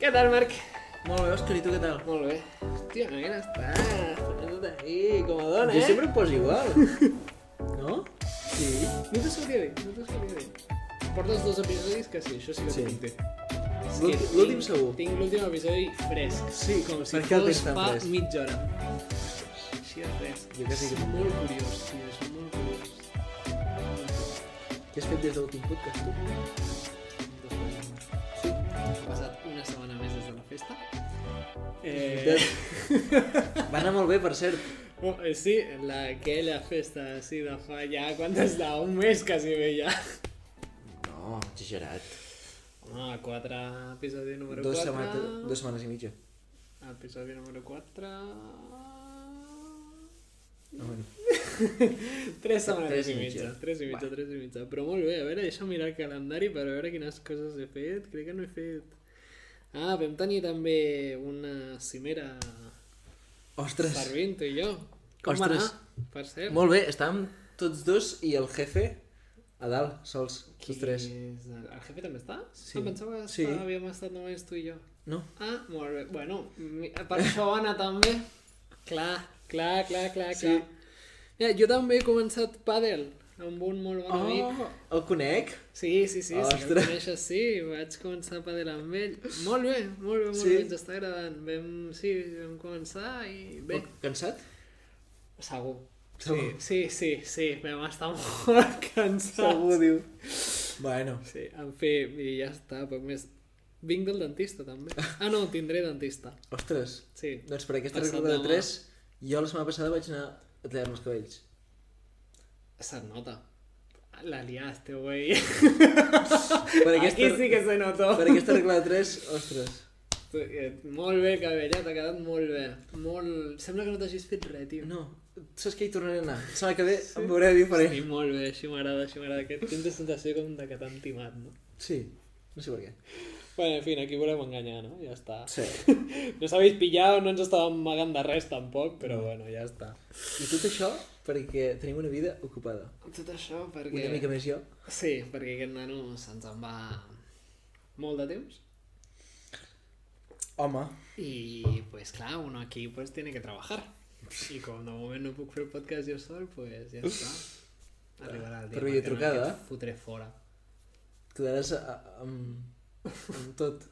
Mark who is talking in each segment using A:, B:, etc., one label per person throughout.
A: què tal, Marc?
B: Molt bé, Òscar, i tu què tal?
A: Molt bé. Hòstia, nena, estàs fotent-te ahí, com a dona,
B: Jo
A: eh?
B: sempre em poso igual. no? Sí.
A: No t'ho sabria dir, no t'ho sabria dir. Portes dos episodis que sí, això sí que
B: Sí.
A: t'ho puc dir. És
B: L'últim-
A: que
B: l'últim
A: tinc-
B: segur.
A: Tinc l'últim episodi fresc.
B: Sí,
A: com si
B: per què el
A: fos
B: tens tan
A: fa
B: fresc?
A: mitja hora. Així de fresc.
B: Jo que sí que-
A: És molt curiós, tio, és molt curiós.
B: Què has fet des de l'últim podcast, tu?
A: Sí. Ha passat una setmana més des de la festa. Eh...
B: Eh... Va anar molt bé, per cert.
A: Oh, eh, sí, la, aquella festa así de fa ja, quant es da? Un mes quasi bé ja.
B: No, exagerat.
A: Ah, 4, episodi número
B: Dos,
A: 4.
B: setmana, dos setmanes i mitja.
A: Episodi número 4...
B: No, Ah, bueno.
A: 3 setmanes
B: Tres
A: i
B: i
A: mitja,
B: mitja.
A: 3 i mitja, 3 i mitja. Però molt bé, a veure, deixa mirar el calendari per veure quines coses he fet. Crec que no he fet... Ah, vam tenir també una cimera
B: Ostres,
A: per Vinto i jo. Com va anar,
B: Ostres.
A: per cert?
B: molt bé, estàvem tots dos i el jefe a dalt, sols,
A: Qui
B: tots tres.
A: és el- El jefe també està?
B: Sí.
A: Em pensava que
B: Sí.
A: sí. havíem estat només tu i jo.
B: No?
A: Ah, molt bé. Bueno, mi- per això va anar també. Clar, clar, clar, clar,
B: Sí.
A: clar. Mira, jo també he començat pàdel amb un molt bon amic.
B: Oh, el conec?
A: Sí, sí, sí, si el
B: Ostres.
A: coneixes, sí, vaig començar a padelar amb ell. Molt bé, molt bé, molt
B: Sí.
A: bé, ens està agradant. Vam, sí, vam començar i bé.
B: Oh, cansat?
A: Segur.
B: Segur.
A: Sí, sí, sí, sí, vam estar molt cansats.
B: diu. Bueno,
A: Sí, en fi, i ja està, poc més. Vinc del dentista, també. Ah, no, tindré dentista.
B: ostres,
A: Sí.
B: doncs per aquesta
A: Passat
B: regla de
A: demà.
B: 3, jo la setmana passada vaig anar a tallar-me els cabells.
A: Se nota. Ah, La liaste, güey.
B: Per
A: Aquí
B: aquesta,
A: sí que se notó.
B: per aquesta regla de 3, ostres.
A: Eh, Molt bé, cabellat, t'ha quedat molt bé. Molt... Sembla que no t'hagis fet res, tio.
B: No, saps que hi tornaré a anar? La setmana que ve em veuré diferent.
A: Sí, molt bé, així m'agrada, així m'agrada. Que tens la sensació com de que t'han timat, no?
B: Sí, no sé per què.
A: Bueno, en fi, aquí volem enganyar, no? Ja està.
B: Sí.
A: No s'havies pillat, no ens estàvem amagant de res tampoc, però bueno, ja està.
B: I tot això perquè tenim una vida ocupada.
A: Tot això perquè...
B: Una mica més jo.
A: Sí, perquè aquest nano se'ns en va molt de temps.
B: Home.
A: Y pues claro, uno aquí pues tiene que trabajar. Y como de momento no puedo hacer podcast yo solo, pues ya está. Arribarà el dia.
B: Per videotrucada.
A: perquè no, que et Fotré fora.
B: Quedaràs a, a, amb, amb tot.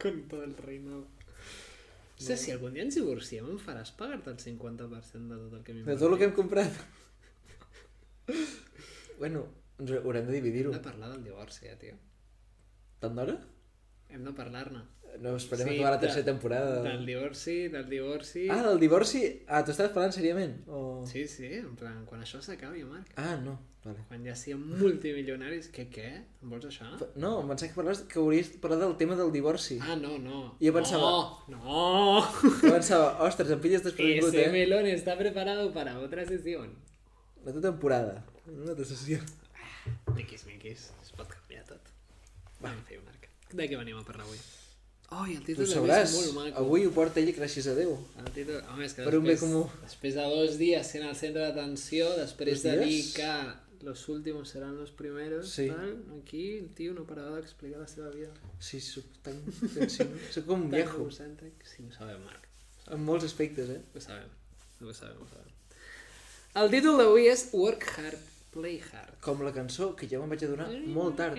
A: Con todo el reino. No sé, si algun dia ens divorciem em faràs pagar-te el 50% de tot el que
B: De
A: m'invertim.
B: tot el que hem comprat. bueno, ens haurem de
A: Hem
B: dividir-ho.
A: de parlar del divorci, ja, tio.
B: Tant d'hora?
A: Hem de parlar-ne.
B: No, esperem
A: Sí,
B: acabar la
A: de-
B: tercera temporada.
A: Del divorci, del divorci...
B: Ah, del divorci? Ah, tu estaves parlant seriament? O...
A: Sí, sí, en plan, quan això s'acabi, Marc.
B: Ah, no. Vale.
A: Quan ja siguem multimilionaris, què, què? Em vols això?
B: No, em pensava que, parlaves, que hauries parlat del tema del divorci.
A: Ah, no, no.
B: Jo pensava-
A: No, no.
B: Jo pensava, ostres, em pilles desprevingut,
A: Ese
B: eh?
A: melón está preparado para otra sesión.
B: La teva temporada. Una altra sessió.
A: Miquis, miquis, es pot canviar tot. Va, en fi, Marc. De què venim a parlar avui? Ai, el
B: Tu
A: títol
B: ho
A: també és
B: sabràs.
A: molt maco.
B: Avui ho porta ell gràcies a Déu.
A: El títol... Home, és que
B: Per un bé
A: després,
B: comú.
A: després de dos dies sent al centre d'atenció, després
B: Dos
A: de dir
B: dies?
A: que los últimos serán los primeros,
B: Sí.
A: tal, aquí el tio no parava d'explicar la seva vida.
B: Sí, soc tan... sensible. soc com un
A: Tan
B: viejo.
A: egocèntric. Sí, ho sabem, Marc.
B: En molts aspectes, eh?
A: Ho sabem. Ho sabem, ho sabem. El títol d'avui és Work Hard, Play Hard.
B: Com la cançó, que ja me'n vaig adonar molt tard.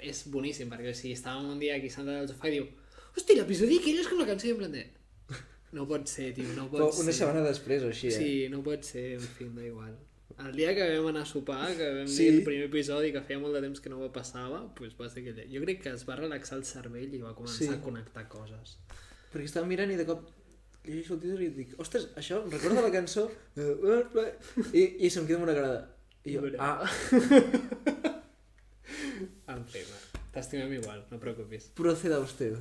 A: És boníssim, perquè si estàvem un dia aquí sentat al sofà i diu Hosti, l'episodi aquell és com la cançó i em plan de... No pot ser, tio, no pot
B: Però
A: ser.
B: una setmana després o així, eh?
A: Doncs Sí, no pot ser, en fi, da igual. El dia que vam anar a sopar, que vam
B: Sí.
A: sí. dir el primer episodi, que feia molt de temps que no ho passava, doncs va ser aquell dia. Jo crec que es va relaxar el cervell i va començar
B: Sí.
A: sí. a connectar coses.
B: Perquè estava mirant i de cop llegeixo el títol i dic, ostres, això em recorda la cançó eh, eh, eh", i, i se'm queda amb una grada. I jo,
A: Mira.
B: ah,
A: En fi, va, t'estimem igual, no preocupis.
B: proceda usted.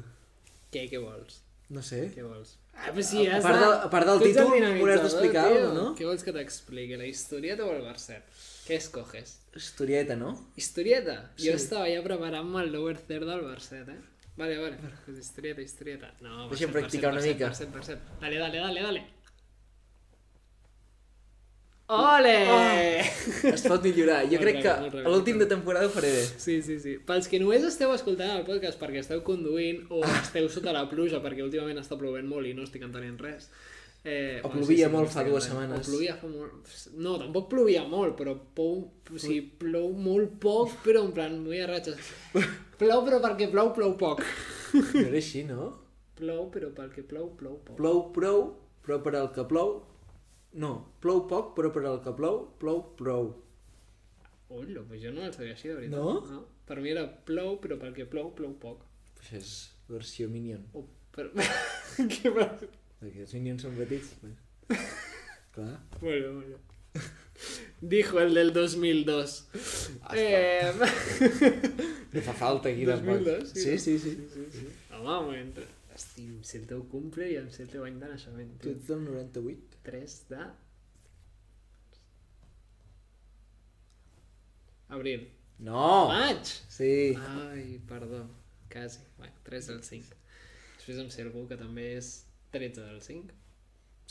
A: Què, què vols?
B: No sé.
A: Què vols? Ah, però sí, has
B: a part
A: de-
B: del- a part del
A: tu ets el
B: títol,
A: dinamitzador,
B: hauràs d'explicar-ho,
A: tio.
B: no?
A: Què vols que t'expliqui? La historieta o el verset? Què escoges?
B: Historieta, no?
A: Historieta?
B: Sí.
A: Jo estava ja preparant-me el lower third del verset, eh? Vale, vale. Pues historieta, historieta. No,
B: Deixa'm
A: verset, verset,
B: practicar una
A: verset,
B: mica.
A: Verset, verset. Dale, dale, dale, dale. Ole!
B: Ah. Es pot millorar. Jo
A: Molt
B: crec
A: rebé,
B: que
A: molt rebé,
B: a l'últim
A: molt
B: de temporada ho faré bé.
A: Sí, sí, sí. Pels que només esteu escoltant el podcast perquè esteu conduint o
B: Ah.
A: esteu sota la pluja perquè últimament està plovent molt i no estic entenent res. Eh,
B: O
A: bueno,
B: plovia
A: que
B: molt
A: no estic
B: fa dues
A: entenent.
B: setmanes.
A: O plovia fa molt... No, tampoc plovia molt, però pou... o sigui, plou molt poc, però en plan, muy a ratxes. Plou, però perquè plou, plou poc.
B: No era així, no?
A: Plou, però perquè plou, plou poc.
B: Plou prou, però per al que plou... No, plou poc, però per al que plou, plou prou.
A: Ullo, pues jo no el sabia així, de veritat.
B: No?
A: no? Per mi era plou, però perquè plou, plou poc.
B: Pues és versió Minion.
A: O per... Què passa?
B: Perquè els Minions són petits. Pues. Clar.
A: Bueno, bueno. Dijo el del 2002. Eh,
B: No fa falta aquí
A: 2002,
B: Sí,
A: sí,
B: sí, sí.
A: home, entre... Hosti, em sé el teu cumple i em sé el teu any de naixement.
B: Tu
A: tio.
B: ets del 98?
A: 3 de... Abril.
B: No!
A: Maig!
B: Oh. Sí.
A: Ai, perdó. Quasi. Va, 3 del 5. Després em sé algú que també és 13 del 5.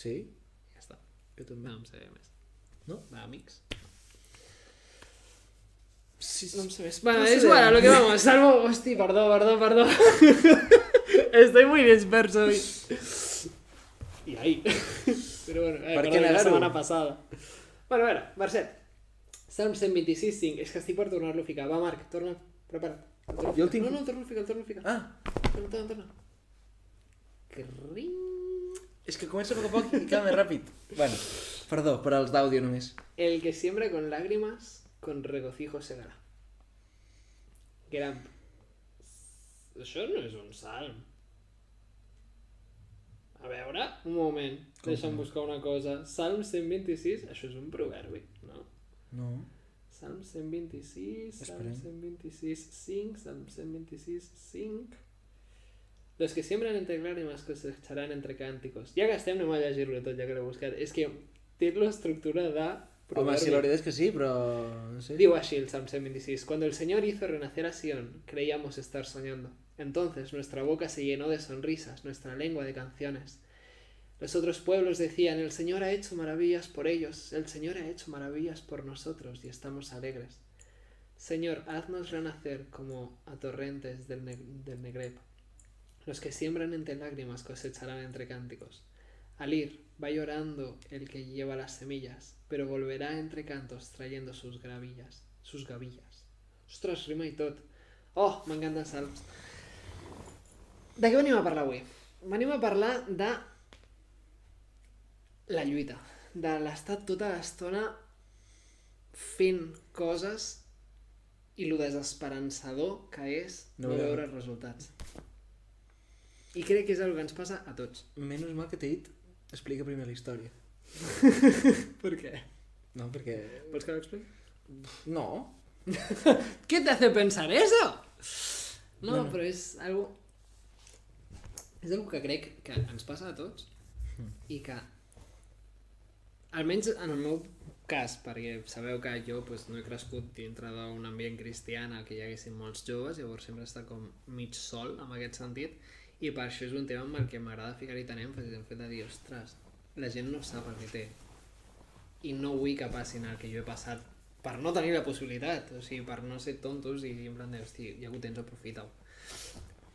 B: Sí?
A: Ja està.
B: Jo també.
A: No em sabia més.
B: No?
A: D'amics.
B: Sí,
A: No em sé més. Bueno,
B: No
A: es
B: sé.
A: igual, a lo que vamos. Salvo. Hostia, perdón, perdón, perdón. Estoy muy disperso hoy. Y ahí. Pero bueno, eh,
B: Per què
A: perdón, la
B: negar-ho?
A: semana pasada. Bueno, bueno, Marcet. Estàvem 126.5. És que estic per tornar-lo a ficar. Va, Marc, torna. Prepara't. Torna a
B: Jo el
A: ficar.
B: tinc.
A: No, no, torna a ficar, torna a ficar.
B: Ah,
A: Torna, torna, torna. Crin.
B: és que comença a poc a poc i acaba més ràpid. Bueno, perdó, per als d'àudio només.
A: El que siembra con lágrimas, con regocijo segará. Gramp. Això no és un salm. A veure, un moment,
B: Com
A: deixa'm
B: no?
A: buscar una cosa. Salm 126, això és un proverbi, no?
B: No.
A: Salm 126, Salm
B: Esperem.
A: 126, 5, Salm 126, 5... Los que siembran entre lágrimas cosecharán entre cánticos. Ja que estem, anem a llegir-lo tot, ja que l'he buscat. És que té l'estructura de
B: Home,
A: proverbi.
B: sí, la veritat és que sí, però... No sé.
A: Digo así el Psalm 126. Cuando el Señor hizo renacer a Sión, creíamos estar soñando. Entonces nuestra boca se llenó de sonrisas, nuestra lengua de canciones. Los otros pueblos decían, el Señor ha hecho maravillas por ellos, el Señor ha hecho maravillas por nosotros y estamos alegres. Señor, haznos renacer como a torrentes del, Ne- del Negreb. Los que siembran entre lágrimas cosecharán entre cánticos. Al ir, va llorando el que lleva las semillas, pero volverá entre cantos trayendo sus gravillas, sus gavillas. Ostres, rima i tot. Oh, m'encanten els salms. De què venim a parlar avui? Venim a parlar de la lluita, de l'estar tota l'estona fent coses i lo desesperançador que és
B: No
A: no, no
B: veure.
A: veure resultats. I crec que és el que ens passa a tots.
B: Menys mal que t'he dit, explica primer la història.
A: Per què?
B: No, perquè...
A: ¿Pues que lo explique?
B: No.
A: ¿Qué te hace pensar eso? No,
B: Bueno.
A: però és algo... És algo que crec que ens passa a tots i que almenys en el meu cas, perquè sabeu que jo pues, no he crescut dintre d'un ambient cristià en el que hi haguessin molts joves, llavors sempre està com mig sol en aquest sentit, i per això és un tema en el que m'agrada ficar-hi tant èmfasi, el fet de dir, ostres, la gent no sap el que té, i no vull que passin el que jo he passat per no tenir la possibilitat, o sigui, per no ser tontos i dir en plan de, hosti, ja que ho tens, aprofita-ho.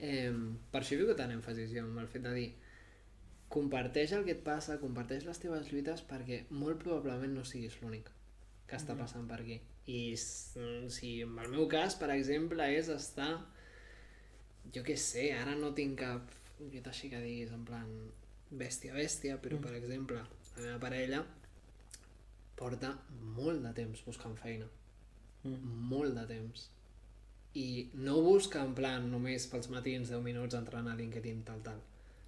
A: Eh, per això hi viu tant èmfasi jo, amb el fet de dir comparteix el que et passa, comparteix les teves lluites perquè molt probablement no siguis l'únic que està passant per aquí. I s- mm, si en el meu cas, per exemple, és estar... Jo què sé, ara no tinc cap lluita així que diguis en plan bèstia, bèstia, però per exemple, la meva parella porta molt de temps buscant feina.
B: Mm.
A: Molt de temps. I no busca en plan només pels matins 10 minuts entrant a LinkedIn tal tal.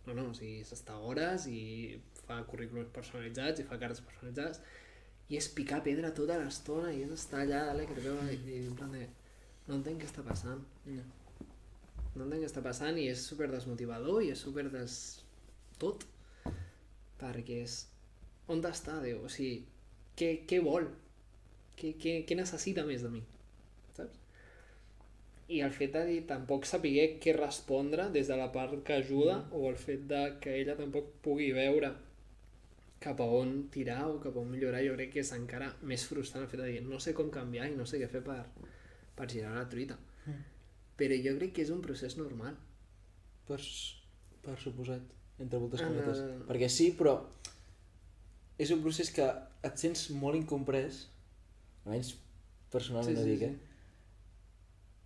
A: No, no, o sigui, s'està hores i fa currículums personalitzats i fa cartes personalitzades i és picar pedra tota l'estona i és estar allà dalt que veu i, i en plan de... No entenc què està passant.
B: No.
A: No entenc què està passant i és super desmotivador i és super des... tot. Perquè és... On està Déu? O sigui, què, què vol? Què, què, què necessita més de mi? Saps? I el fet de dir tampoc saber què respondre des de la part que ajuda mm. o el fet de que ella tampoc pugui veure cap a on tirar o cap a on millorar, jo crec que és encara més frustrant el fet de dir no sé com canviar i no sé què fer per, per girar la truita.
B: Mm.
A: Però jo crec que és un procés normal.
B: Per, s- per suposat, entre moltes
A: Ah, no,
B: cometes.
A: no, no.
B: Perquè sí, però és un procés que et sents molt incomprès, almenys
A: Sí,
B: personalment sí,
A: sí,
B: sí, dic,
A: sí.
B: eh?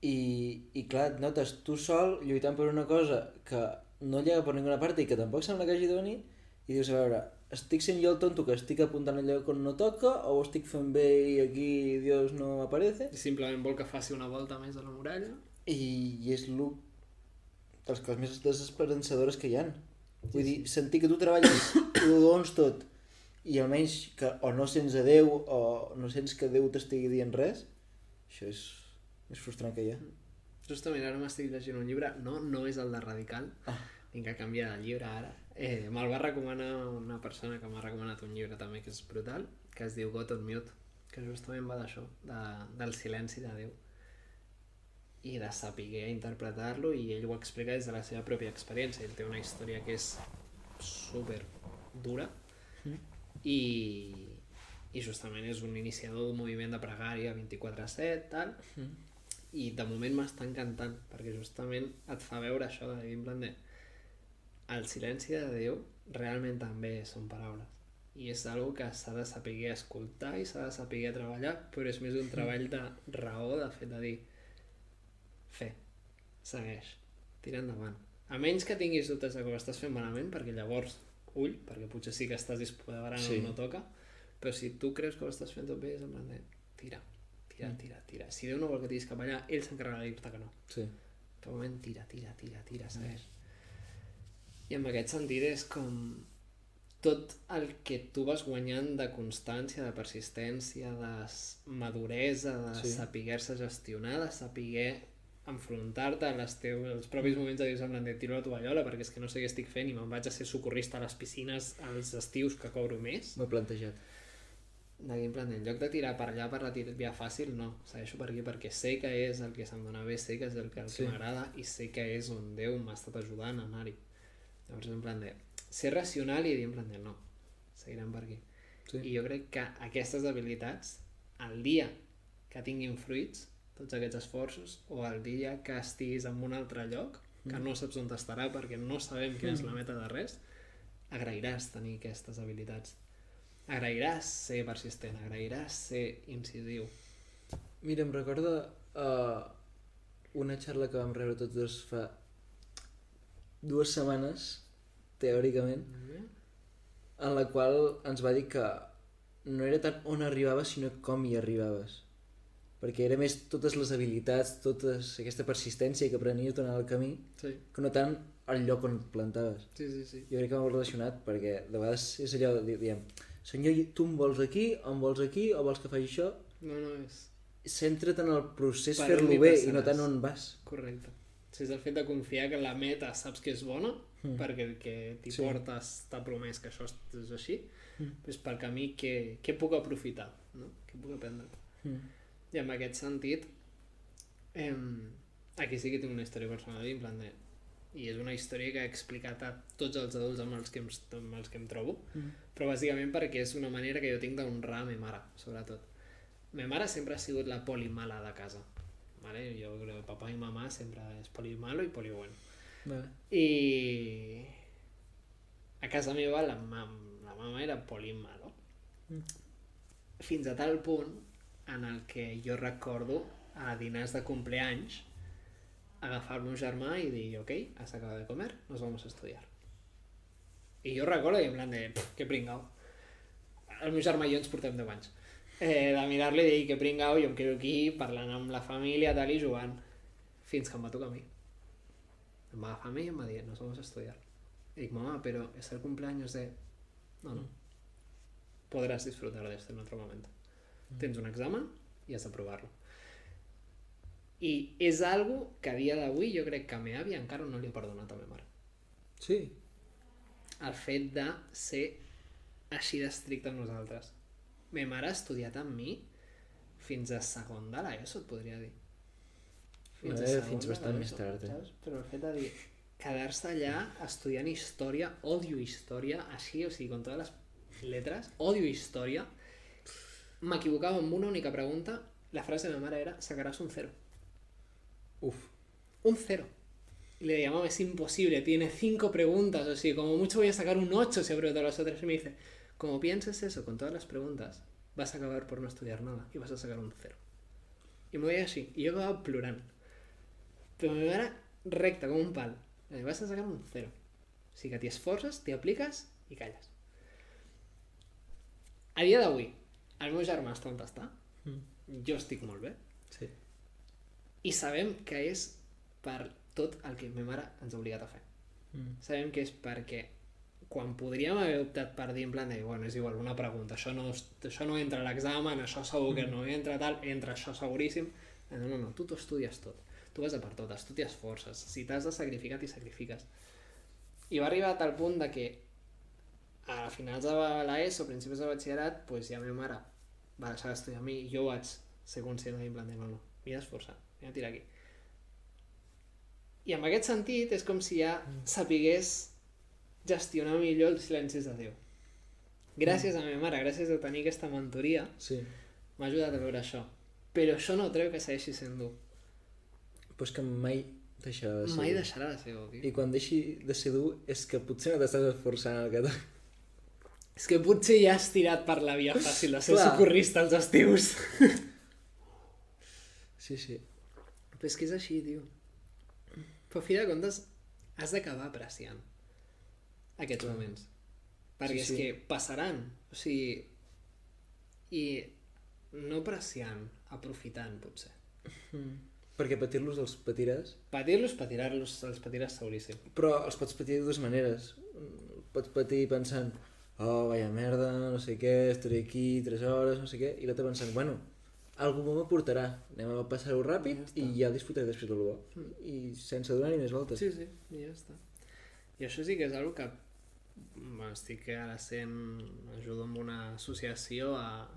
B: I, I clar, et notes tu sol lluitant per una cosa que no llega per ninguna part i que tampoc sembla que hagi de venir i dius, a veure, estic sent jo el tonto que estic apuntant allò on no toca o ho estic fent bé i aquí Dios no aparece
A: I simplement vol que faci una volta més a la muralla.
B: i, i és lo... de les coses més desesperançadores que hi han. Vull dir, sentir que tu treballes, ho dones tot, i almenys que o no sents a Déu o no sents que Déu t'estigui dient res, això és més frustrant que hi ha.
A: Justament ara m'estic llegint un llibre, no, no és el de Radical,
B: Ah.
A: vinc a canviar de llibre ara. Eh, Me'l va recomanar una persona que m'ha recomanat un llibre també que és brutal, que es diu God on Mute, que justament va d'això, de, del silenci de Déu i de saber interpretar-lo i ell ho explica des de la seva pròpia experiència. Ell té una història que és super dura i, i justament és un iniciador d'un moviment de pregària 24-7, tal,
B: Mm.
A: i de moment m'està encantant perquè justament et fa veure això de dir en plan de el silenci de Déu realment també són paraules i és algo que s'ha de saber escoltar i s'ha de saber treballar però és més un treball de raó de fet de dir fer, segueix, tira endavant a menys que tinguis dubtes de que ho estàs fent malament perquè llavors, ull, perquè potser sí que estàs dispoderant sí.
B: Sí.
A: on no toca però si tu creus que ho estàs fent tot bé és en plan de tira, tira, tira, tira si Déu no vol que tiris cap allà, ell s'encarregarà de dir-te que no
B: Sí.
A: de moment tira, tira, tira, tira, segueix. I en aquest sentit és com tot el que tu vas guanyant de constància, de persistència, de s- maduresa, de sí.
B: Sí.
A: saber-se gestionar, de saber enfrontar-te a les teus, als propis moments de dir semblant de tiro la tovallola perquè és que no sé què estic fent i me'n vaig a ser socorrista a les piscines als estius que cobro més
B: M'ho he plantejat.
A: d'aquí en plan, en lloc de tirar per allà per la tir- via fàcil, no, segueixo per aquí perquè sé que és el que se'm dona bé, sé que és el que, el sí.
B: Sí.
A: que m'agrada i sé que és on Déu m'ha estat ajudant a anar-hi. Llavors és en plan de ser racional i dir en plan de no, seguirem per aquí.
B: Sí.
A: I jo crec que aquestes habilitats, el dia que tinguin fruits, tots aquests esforços, o el dia que estiguis en un altre lloc, que no saps on estarà perquè no sabem quina és la meta de res, agrairàs tenir aquestes habilitats. Agrairàs ser persistent, agrairàs ser incisiu.
B: Mira, em recorda uh, una xarla que vam rebre tots dos fa dues setmanes, teòricament, en la qual ens va dir que no era tant on arribaves, sinó com hi arribaves. Perquè era més totes les habilitats, totes aquesta persistència que prenies durant el camí,
A: Sí,
B: que no tant el lloc on et plantaves.
A: sí, sí. sí.
B: Jo crec que m'ho relacionat perquè de vegades és allò, de dir- diem, senyor, tu em vols aquí, em vols aquí, o vols que faci això?
A: No, no, és
B: Centra't en el procés,
A: Per on
B: fer-lo
A: hi
B: bé, i
A: passaràs.
B: no tant on vas.
A: correcte. Si és el fet de confiar que la meta saps que és bona, mm. perquè el que t'hi sí.
B: Sí.
A: portes t'ha promès que això és- és així, mm. doncs pel camí què, què puc aprofitar, no? Què puc aprendre?
B: Mm.
A: I en aquest sentit, em, aquí sí que tinc una història personal, en plan de... I és una història que he explicat a tots els adults amb els que em, amb els que em trobo, mm. però bàsicament perquè és una manera que jo tinc d'honrar a ma mare, sobretot. Ma mare sempre ha sigut la polimala de casa. Vale? Jo crec que papà i mamà sempre és polimalo i polibueno.
B: Vale.
A: I a casa meva la, mam, la mama era polimalo.
B: Mm.
A: Fins a tal punt en el que jo recordo a dinars de compleanys agafar el meu germà i dir, ok, has acabado de comer, nos vamos a estudiar. I jo recordo i en plan de, "Pff, que pringao. El meu germà i jo ens portem 10 anys. Eh, de mirar-li i dir, que pringao, jo em quedo aquí parlant amb la família, tal, i jugant. Fins que em va tocar a mi. Em va agafar a mi y me dijo, nos vamos a estudiar. Y digo, mamá, pero es el cumpleaños de... No, no. Podrás disfrutar de esto en otro momento. Tens un examen i has d'aprovar-lo. I és algo que a dia d'avui jo crec que a meva àvia encara no li ha perdonat a ma mare.
B: Sí.
A: El fet de ser així d'estricte amb nosaltres. Ma mare ha estudiat amb mi fins a segon de l'ESO, et podria dir.
B: Eh,
A: segon
B: fins
A: de
B: bastant
A: l'ESO,
B: més tard, eh?
A: saps? Però el fet de dir, quedar-se allà estudiant història, odio història, així, o sigui, com totes les Letres. Odio història. M'equivocava amb una única pregunta. La frase de ma mare era, sacaràs un cero.
B: Uf.
A: Un cero. Y le llamaba, es imposible, tiene cinco preguntas, o sí, como mucho voy a sacar un 8 si apruebo todas las otras. Y me dice, como pienses eso con todas las preguntas, vas a acabar por no estudiar nada y vas a sacar un cero. Y me voy así, y yo acababa plural. Pero me era recta como un pal. Eh, Vas a sacar un cero. Así que te esforces, te aplicas i calles. A dia d'avui, el meu germà està on està,
B: Mm.
A: jo estic molt bé,
B: Sí.
A: i sabem que és per tot el que ma mare ens ha obligat a fer.
B: Mm.
A: Sabem que és perquè quan podríem haver optat per dir en plan de, bueno, és igual, una pregunta, això no, es- això no entra a l'examen, això segur que no entra, tal, entra això seguríssim. No, no, no, tu t'ho estudies tot. Tu vas a per totes, tu t'hi esforces. Si t'has de sacrificar, t'hi sacrifiques. I va arribar a tal punt de que a finals de l'ESO, principis de batxillerat, doncs ja la meva mare va deixar d'estudiar amb mi i jo vaig ser conscient de en plan de, no, no, m'he d'esforçar, m'he de tirar aquí. I en aquest sentit és com si ja sapigués gestionar millor els silencis de Déu. Gràcies a la meva mare, gràcies a tenir aquesta mentoria,
B: Sí.
A: m'ha ajudat a veure això. Però això no treu que segueixi sent dur.
B: Però és que mai deixarà de ser.
A: Mai
B: dur.
A: deixarà de ser dur, tio.
B: I quan deixi de ser dur és que potser no t'estàs esforçant el que t'ha...
A: És que potser ja has tirat per la via fàcil de ser
B: Clar.
A: socorrista als estius.
B: Sí, sí.
A: Però és que és així, tio. Però a fi de comptes, has d'acabar apreciant aquests
B: Clar.
A: moments. Perquè
B: Sí,
A: és
B: sí.
A: que passaran. O sigui, i no apreciant, aprofitant, potser.
B: Perquè patir-los els patiràs,
A: Patir-los, patir-los, els patiràs seguríssim.
B: però els pots patir de dues maneres. Mm, Pots patir pensant, oh, vaya merda, no sé què, estaré aquí tres hores, no sé què, i l'altre pensant, bueno, algú bo m'aportarà, anem a passar-ho ràpid
A: Ja
B: ja i ja disfrutaré després del bo. I sense donar ni més voltes.
A: Sí, sí, i ja està. I això sí que és una que bueno, estic ara sent... ajudo amb una associació a,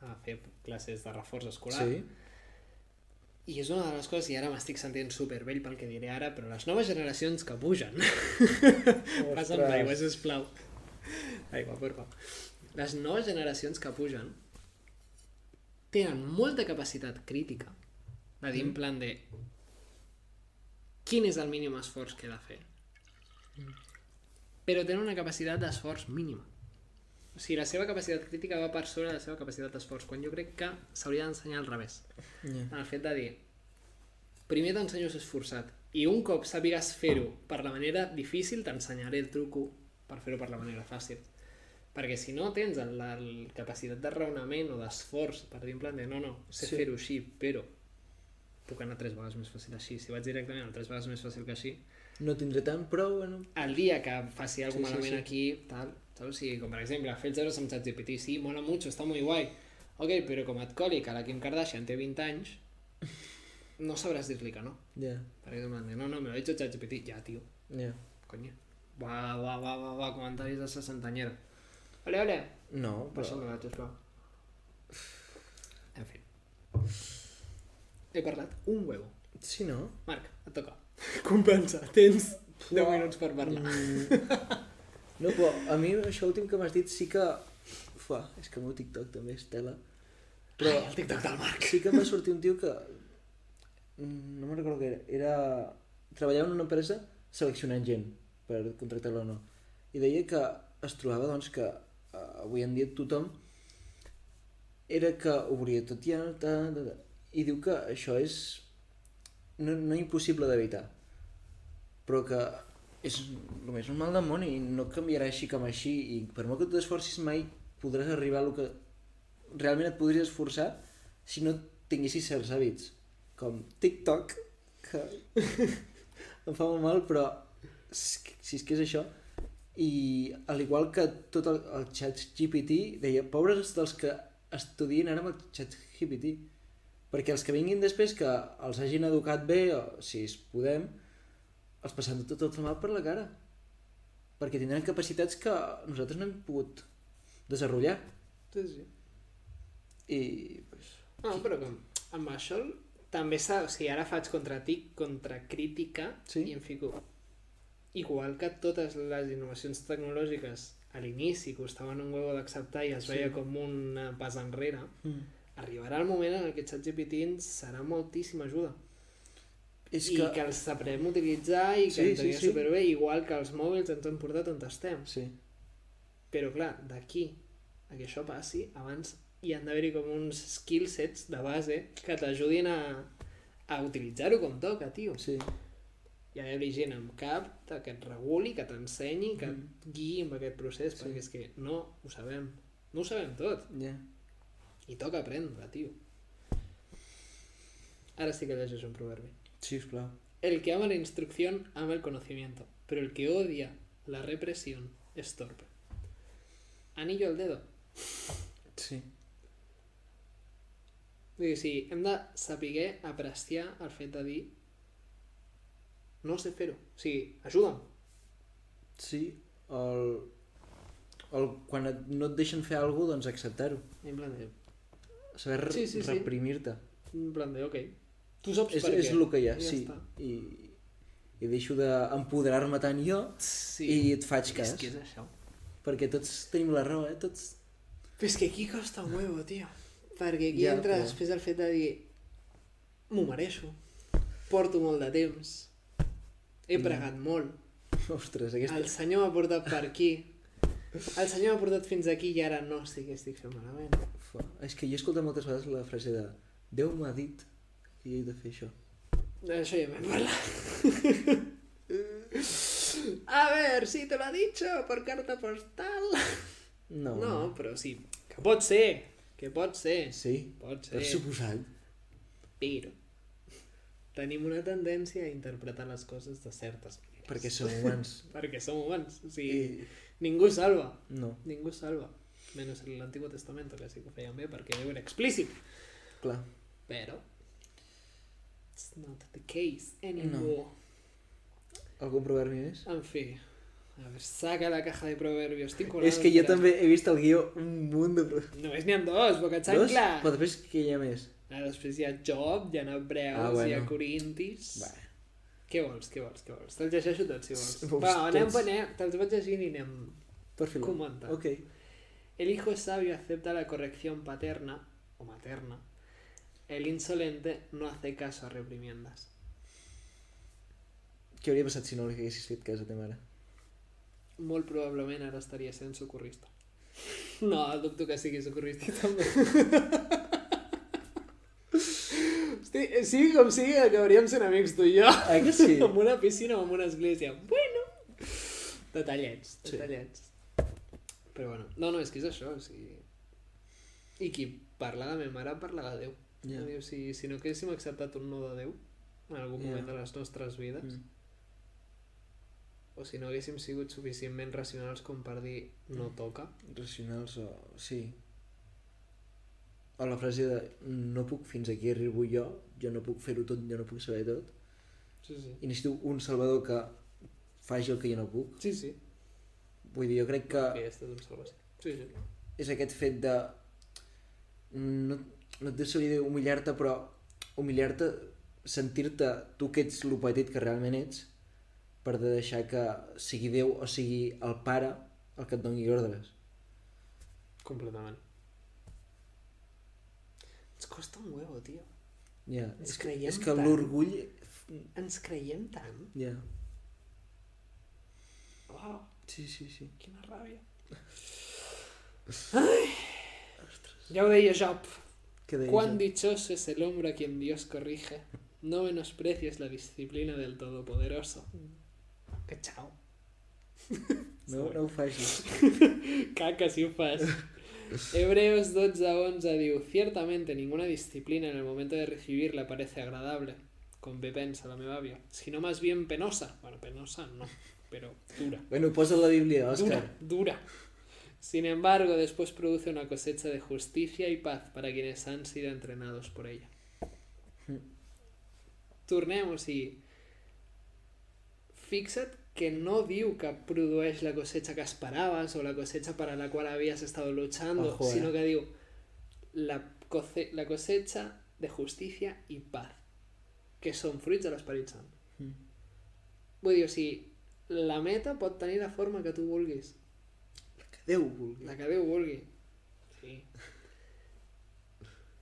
A: a fer classes de reforç escolar.
B: sí?
A: I és una de les coses, i ara m'estic sentint supervell pel que diré ara, però les noves generacions que pugen... Passa'm l'aigua, sisplau. Aigua, por favor. Les noves generacions que pugen tenen molta capacitat crítica de dir en plan de quin és el mínim esforç que he de fer. Però tenen una capacitat d'esforç mínima. O sigui, la seva capacitat crítica va per sobre de la seva capacitat d'esforç, quan jo crec que s'hauria d'ensenyar al revés
B: Ja.
A: en el fet de dir primer t'ensenyo a ser esforçat i un cop sàpigues fer-ho per la manera difícil t'ensenyaré el truco per fer-ho per la manera fàcil perquè si no tens el- la el capacitat de raonament o d'esforç per dir en plan de no, no, sé
B: Sí.
A: fer-ho així, però puc anar tres vegades més fàcil així si vaig directament al tres vegades més fàcil que així
B: No tindré tant, però bueno...
A: el dia que faci algo
B: Sí, sí,
A: malament
B: sí.
A: aquí, tal, saps? O sigui, com per exemple, fer els euros amb ChatGPT, sí, mola mucho, està muy guai. Ok, però com et coli que la Kim Kardashian té 20 anys, no sabràs dir-li que no.
B: Ja,
A: Per exemple, no, no, me lo ha dicho ChatGPT, ja, tio,
B: ja.
A: conya. Va, va, va, va, va, comentaris de sessentanyera. Ole, ole,
B: No, però...
A: passa'm la sisplau. En fi. He parlat un huevo.
B: Sí, no?
A: Marc, et toca. Compensa, tens 10
B: Uah.
A: minuts per parlar.
B: Mm. No, però a mi això últim que m'has dit sí que... Fa, és que el meu TikTok també és tela.
A: Però... Ai, el TikTok del Marc.
B: Sí que em va sortir un tio que... mm, No me'n recordo què era. Era... Treballava en una empresa seleccionant gent per contractar-la o no. I deia que es trobava, doncs, que eh, avui en dia tothom era que ho volia tot ja, ta, ta, ta. i diu que això és no, no impossible d'evitar, però que és el més normal del món i no canviarà així com així i per molt que tu t'esforcis mai podràs arribar a lo que realment et podries esforçar si no tinguessis certs hàbits com TikTok que em fa molt mal però és que- si és que és això i al igual que tot el, el xat GPT deia pobres dels que estudien ara amb el xat GPT perquè els que vinguin després que els hagin educat bé o si es podem els passant tot el mal per la cara perquè tindran capacitats que nosaltres no hem pogut desenvolupar
A: Sí, sí.
B: i pues,
A: No, Ah, però com, amb això també s'ha... O sigui, ara faig contra tic, contra crítica
B: Sí.
A: i em fico... Igual que totes les innovacions tecnològiques a l'inici costaven un huevo d'acceptar i es
B: Sí.
A: veia com un eh, pas enrere,
B: Mm.
A: arribarà el moment en què ChatGPT ens serà moltíssima ajuda.
B: És
A: I que,
B: que...
A: els sabrem utilitzar i que
B: Sí,
A: ens
B: sí,
A: anirà
B: sí.
A: superbé, igual que els mòbils ens han portat on estem.
B: Sí.
A: Però clar, d'aquí a que això passi, abans hi han d'haver-hi com uns skill sets de base que t'ajudin a, a utilitzar-ho com toca, tio.
B: Sí.
A: Hi ha d'haver gent amb cap de- que et reguli, que t'ensenyi, que et guiï amb aquest procés,
B: Sí.
A: perquè és que no ho sabem. No ho sabem tot.
B: Ja.
A: I toca aprendre, tio. Ara sí que llegeix un proverbi.
B: Sisplau.
A: El que ama la instrucción ama el conocimiento, pero el que odia la represión es torpe. Anillo al dedo.
B: Sí.
A: Vull dir, sí, hem de saber apreciar el fet de dir no sé fer-ho. O sigui, ajuda'm.
B: Sí. El... El... Quan et... no et deixen fer alguna cosa, doncs acceptar-ho.
A: En plan de,
B: Saber re-
A: Sí, sí, sí.
B: reprimir-te.
A: en plan de ok. Tu saps
B: És,
A: per
B: és
A: què.
B: el que hi ha,
A: Ja
B: sí.
A: està.
B: I, I deixo d'empoderar-me tant jo
A: Sí.
B: sí. i et faig cas.
A: És que és això.
B: Perquè tots tenim la raó, eh? Tots...
A: Però és que aquí costa un huevo, tio. Perquè aquí
B: Ja,
A: ja, entra
B: però-
A: després el fet de dir m'ho mereixo, porto molt de temps, he
B: Ja.
A: pregat molt,
B: Ostres, aquesta...
A: El senyor m'ha portat per aquí. El senyor m'ha portat fins aquí i ara no sé què estic fent malament.
B: Fa- És que jo he escoltat moltes vegades la frase de Déu m'ha dit que jo he de fer això.
A: Això ja vam parlar. A ver, si te lo ha dicho por carta postal.
B: No.
A: No, però sí. Que pot ser. Que pot ser.
B: Sí,
A: Pot
B: per
A: ser.
B: suposat.
A: Però tenim una tendència a interpretar les coses de certes maneres.
B: Perquè Eh. som humans.
A: Perquè som humans. O sigui,
B: I...
A: ningú salva.
B: No,
A: Ningú salva. Menys en l'Antigo Testamento, que sí que ho feien bé, perquè era explícit.
B: clar.
A: Però... It's not the case anymore.
B: Algun proverbi més?
A: En fi, a ver, saca la caja de proverbios. Estic curant
B: És que jo
A: el
B: també he vist el guió un munt de proverbis.
A: Només n'hi ha dos, boca
B: Dos?
A: xancla.
B: Però després que hi ha més?
A: Ara després hi ha Job, hi ha Hebreus,
B: Ah,
A: ah,
B: bueno.
A: hi ha Corintis...
B: Va.
A: Què vols, què vols, què vols? Te'ls llegeixo tots, si vols.
B: Vols
A: Va, anem,
B: tots?
A: anem, te'ls vaig llegint i anem
B: Per filar.
A: comentant.
B: Ok.
A: El hijo es sabio acepta la corrección paterna o materna. El insolente no hace caso a reprimiendas.
B: Què hauria passat si no li haguessis fet cas a ta mare?
A: Molt probablement ara estaria sent socorrista. No, dubto que sigui socorrista també. Hosti, eh, sigui com sigui, acabaríem sent amics tu i jo.
B: Ah, que sí?
A: Amb una piscina o amb una església. Bueno. Detallets,
B: Sí.
A: detallets. Però bueno, no, no, és que és això, o sigui... I qui parla de ma mare parla de Déu.
B: Ja.
A: Yeah. O sigui, si no que haguéssim acceptat un no de Déu en algun
B: Ja.
A: moment de les nostres vides,
B: Mm.
A: o si no haguéssim sigut suficientment racionals com per dir no toca,
B: Racionals o... Sí. O la frase de no puc fins aquí arribo jo, jo no puc fer-ho tot, jo no puc saber tot.
A: sí, sí.
B: I necessito un salvador que faci el que jo no puc.
A: Sí, sí.
B: Vull dir, jo crec que
A: Bé, és tot un salvació. Sí, sí.
B: és aquest fet de... No, no et deixaria d'humiliar-te, però humiliar-te, sentir-te tu que ets lo petit que realment ets, per de deixar que sigui Déu o sigui el pare el que et doni ordres.
A: Completament. Ens costa un huevo, tio.
B: Ja,
A: Ens
B: És que,
A: creiem
B: és que
A: tant.
B: l'orgull...
A: Ens creiem tant.
B: Ja.
A: Uau,
B: Sí, sí, sí.
A: Oh, quina ràbia. Ai! Ja ho deia Job.
B: Què deia?
A: Cuán dichoso es el hombre a quien Dios corrige. No menosprecies la disciplina del Todopoderoso. Mm. Que xau.
B: No, no ho facis.
A: Caca si ho fas. Hebreos 12 a 11 diu, ciertamente ninguna disciplina en el momento de recibirla parece agradable, con pepensa la me babia, sino más bien penosa. Bueno, penosa no, pero dura.
B: Bueno, posa la Bíblia, Òscar.
A: Dura, dura. Sin embargo, después produce una cosecha de justicia y paz para quienes han sido entrenados por ella. Tornemos i... Fixa't que no diu que produeix la cosecha que esperaves o la cosecha para la cual habías estado luchando,
B: Ojo, eh.
A: sino que diu la, cose- la cosecha de justícia i paz, que són fruits de l'esperit sant.
B: Mm.
A: Vull dir, o sigui, la meta pot tenir la forma que tu vulguis.
B: Déu ho vulgui.
A: La que Déu vulgui. Sí.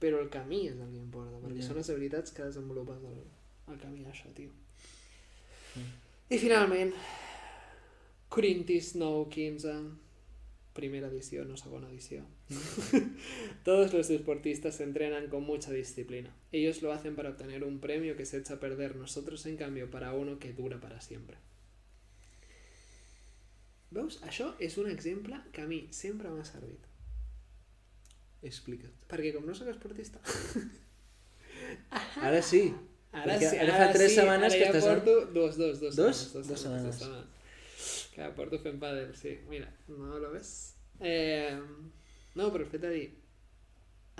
A: Però el camí és el que importa, perquè
B: Ja.
A: són les habilitats que desenvolupes el, el camí d'això, tio. I finalment, Corintis 9-15, primera edició, no segona edició. Todos los deportistas se entrenan con mucha disciplina. Ellos lo hacen para obtener un premio que se echa a perder, nosotros en cambio para uno que dura para siempre. Veus? Això és un exemple que a mi sempre m'ha servit.
B: Explica't.
A: Perquè com no sóc esportista...
B: Ara sí. Perquè ara fa tres setmanes
A: ara
B: que
A: ja
B: estàs en-
A: porto dos, dos, dos,
B: Dos?
A: setmanes,
B: Dos setmanes.
A: Que porto fent pàdel, sí. Mira, no lo ves? Eh, no, però el fet de dir,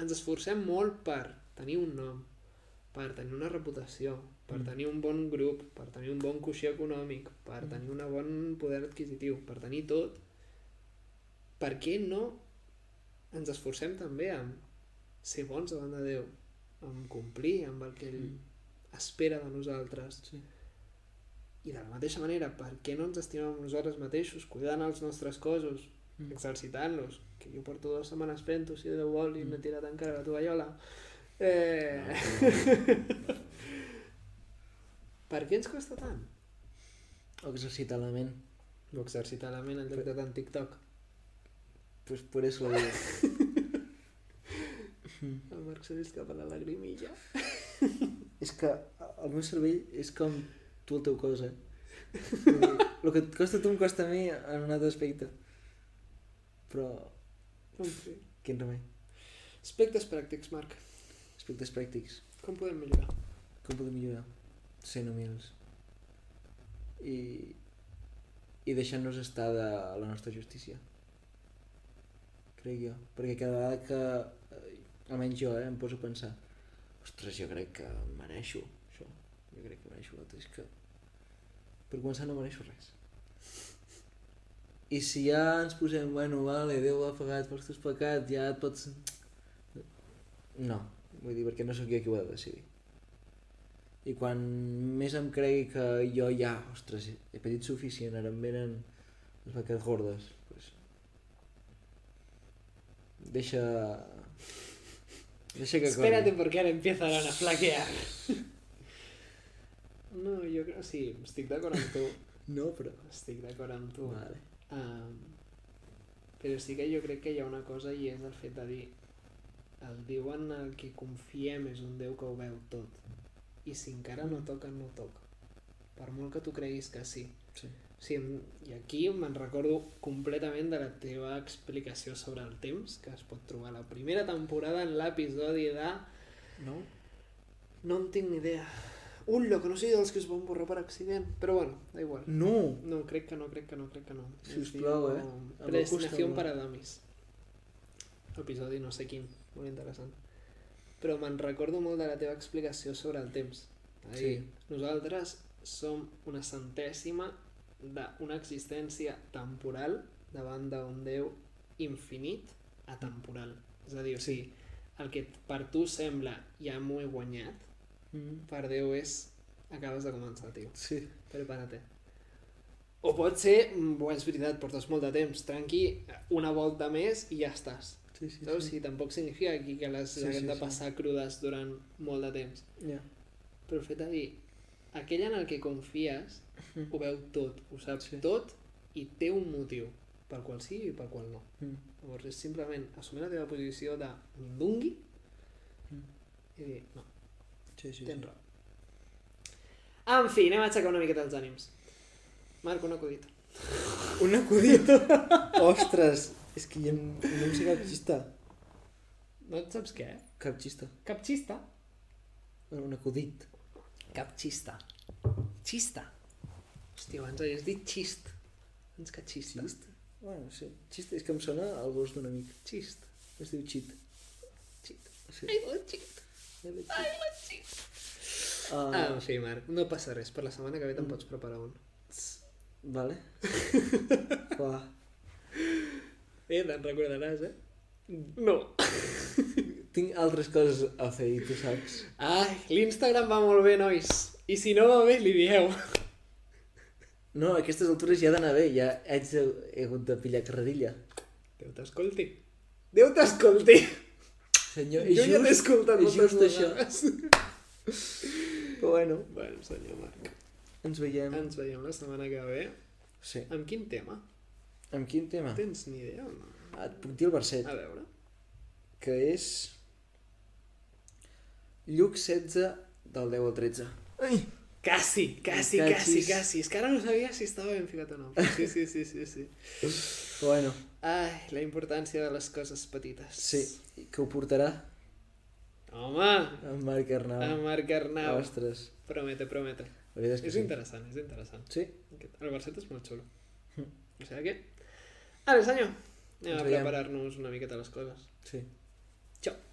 A: ens esforcem molt per tenir un nom, per tenir una reputació, per
B: Mm.
A: tenir un bon grup, per tenir un bon coixí econòmic, per
B: Mm.
A: tenir un bon poder adquisitiu, per tenir tot. Per què no ens esforcem també en ser bons davant de Déu, en complir amb el que ell
B: Mm.
A: espera de nosaltres.
B: Sí.
A: I de la mateixa manera, per què no ens estimem nosaltres mateixos, cuidant els nostres cossos,
B: Mm.
A: exercitant-los, que jo porto dues setmanes fent-ho, si Déu vol, i
B: Mm.
A: m'he tirat encara la tovallola. Eh... per què ens costa tant?
B: O exercita la ment.
A: Ho exercitar la ment en lloc de tant TikTok.
B: Pues por eso lo digo.
A: El Marc se li escapa la lagrimilla.
B: és que el meu cervell és com tu el teu cos, eh? Vull dir, El que et costa a tu em costa a mi en un altre aspecte. Però,
A: En fi.
B: quin remei.
A: Aspectes pràctics, Marc.
B: Aspectes pràctics.
A: Com podem millorar?
B: Com podem millorar? Sent humils. I, i deixant-nos estar de la nostra justícia. Crec jo. Perquè cada vegada que, eh, almenys jo, eh, em poso a pensar ostres, jo crec que em mereixo això. Jo crec que mereixo l'altre. És que... Per començar no mereixo res. I si ja ens posem, bueno, vale, Déu ha pagat pels teus pecats, ja et pots... No, vull dir, perquè no sóc jo qui ho ha de decidir. I quan més em cregui que jo ja, ostres, he patit suficient, ara em venen les vaques gordes, pues... Deixa... Deixa que
A: Espérate porque ahora empiezan a flaquear. No, jo crec... Sí, estic d'acord amb tu.
B: No, però...
A: Estic d'acord amb tu.
B: Vale.
A: Um, però sí que jo crec que hi ha una cosa i és el fet de dir el Déu en el que confiem és un Déu que ho veu tot i si encara no toca, no toca per molt que tu creguis que sí
B: Sí.
A: Sí, em- i aquí me'n recordo completament de la teva explicació sobre el temps, que es pot trobar a la primera temporada en l'episodi de
B: No?
A: No en tinc ni idea. Un lo conocido dels que es van borrar per accident, però bueno, da igual.
B: No!
A: No, crec que no, crec que no, crec que no.
B: Sisplau, eh?
A: eh?
B: Em va costar
A: Predestinación
B: molt.
A: para dummies. Episodi no sé quin, molt interessant. Però me'n recordo molt de la teva explicació sobre el temps. A dir,
B: Sí.
A: Nosaltres som una centèsima d'una existència temporal davant d'un Déu infinit atemporal. És a dir, o sigui, el que per tu sembla ja m'ho he guanyat,
B: Mm.
A: per Déu és acabes de començar, tio.
B: Sí.
A: Prepara't. O pot ser, mm, bo, és veritat, portes molt de temps, tranqui, una volta més i ja estàs.
B: Sí, sí,
A: Saps? Sí, tampoc significa aquí que les
B: Sí,
A: sí, haguem
B: sí,
A: de
B: sí.
A: passar crudes durant molt de temps.
B: Ja.
A: Però el fet de dir, aquell en el que confies
B: Mm.
A: ho veu tot, ho sap
B: Sí.
A: sí. tot i té un motiu, pel qual sí i pel qual no.
B: Mm.
A: Llavors és simplement assumir la teva posició de mindungui
B: Mm.
A: i dir, no,
B: Sí, sí,
A: tens raó. En fi, anem a aixecar una miqueta els ànims. Marc, un acudit.
B: Un acudit! Ostres! És que jo no, no em sé cap xista.
A: No et saps què?
B: Cap xista.
A: Capxista.
B: Bueno, un acudit.
A: Capxista. Xista. Hòstia, abans havies dit xist. Abans que xista. Xist.
B: Bueno, sí. Xista és que em sona el gos d'un amic.
A: Xist.
B: Es diu Chit.
A: Xist.
B: Sí.
A: Ai, la xist. Ai, la xist. Ah,
B: Uh,
A: en fi, Marc, no passa res. Per la setmana que ve te'n pots preparar un.
B: vale. Va.
A: Eh, te'n recordaràs, eh? No.
B: Tinc altres coses a fer i tu saps.
A: Ai, l'Instagram va molt bé, nois. I si no va bé, li dieu.
B: No, a aquestes altures ja ha d'anar bé. Ja haig de, he hagut de pillar carrerilla.
A: Déu t'escolti.
B: Déu t'escolti!
A: Senyor,
B: Jo ja t'he escoltat
A: escoltat
B: moltes
A: moltes
B: vegades. Però bueno,
A: Bueno, senyor Marc,
B: ens veiem.
A: ens veiem la setmana que ve.
B: Sí.
A: Amb quin tema?
B: Amb quin tema?
A: Tens ni idea o no?
B: Ah, Et puc dir el verset,
A: A veure.
B: que és... Lluc 16, del 10 al 13. Ai!
A: Casi, casi,
B: Em
A: casi,
B: cachis.
A: casi. És que ara no sabia si estava ben ficat o no. Però Sí, sí, sí, sí, sí.
B: Però bueno,
A: Ai, la importància de les coses petites.
B: sí, que ho portarà
A: Home,
B: en Marc Arnau.
A: a Marc Arnau.
B: Ostres,
A: Promete, promete.
B: la veritat és que
A: És interessant, és interessant.
B: Sí,
A: Aquest- El verset és molt xulo. O sigui que... Ara, senyor, anem
B: Ens
A: a
B: veiem.
A: preparar-nos una miqueta les coses.
B: sí.
A: Ciao.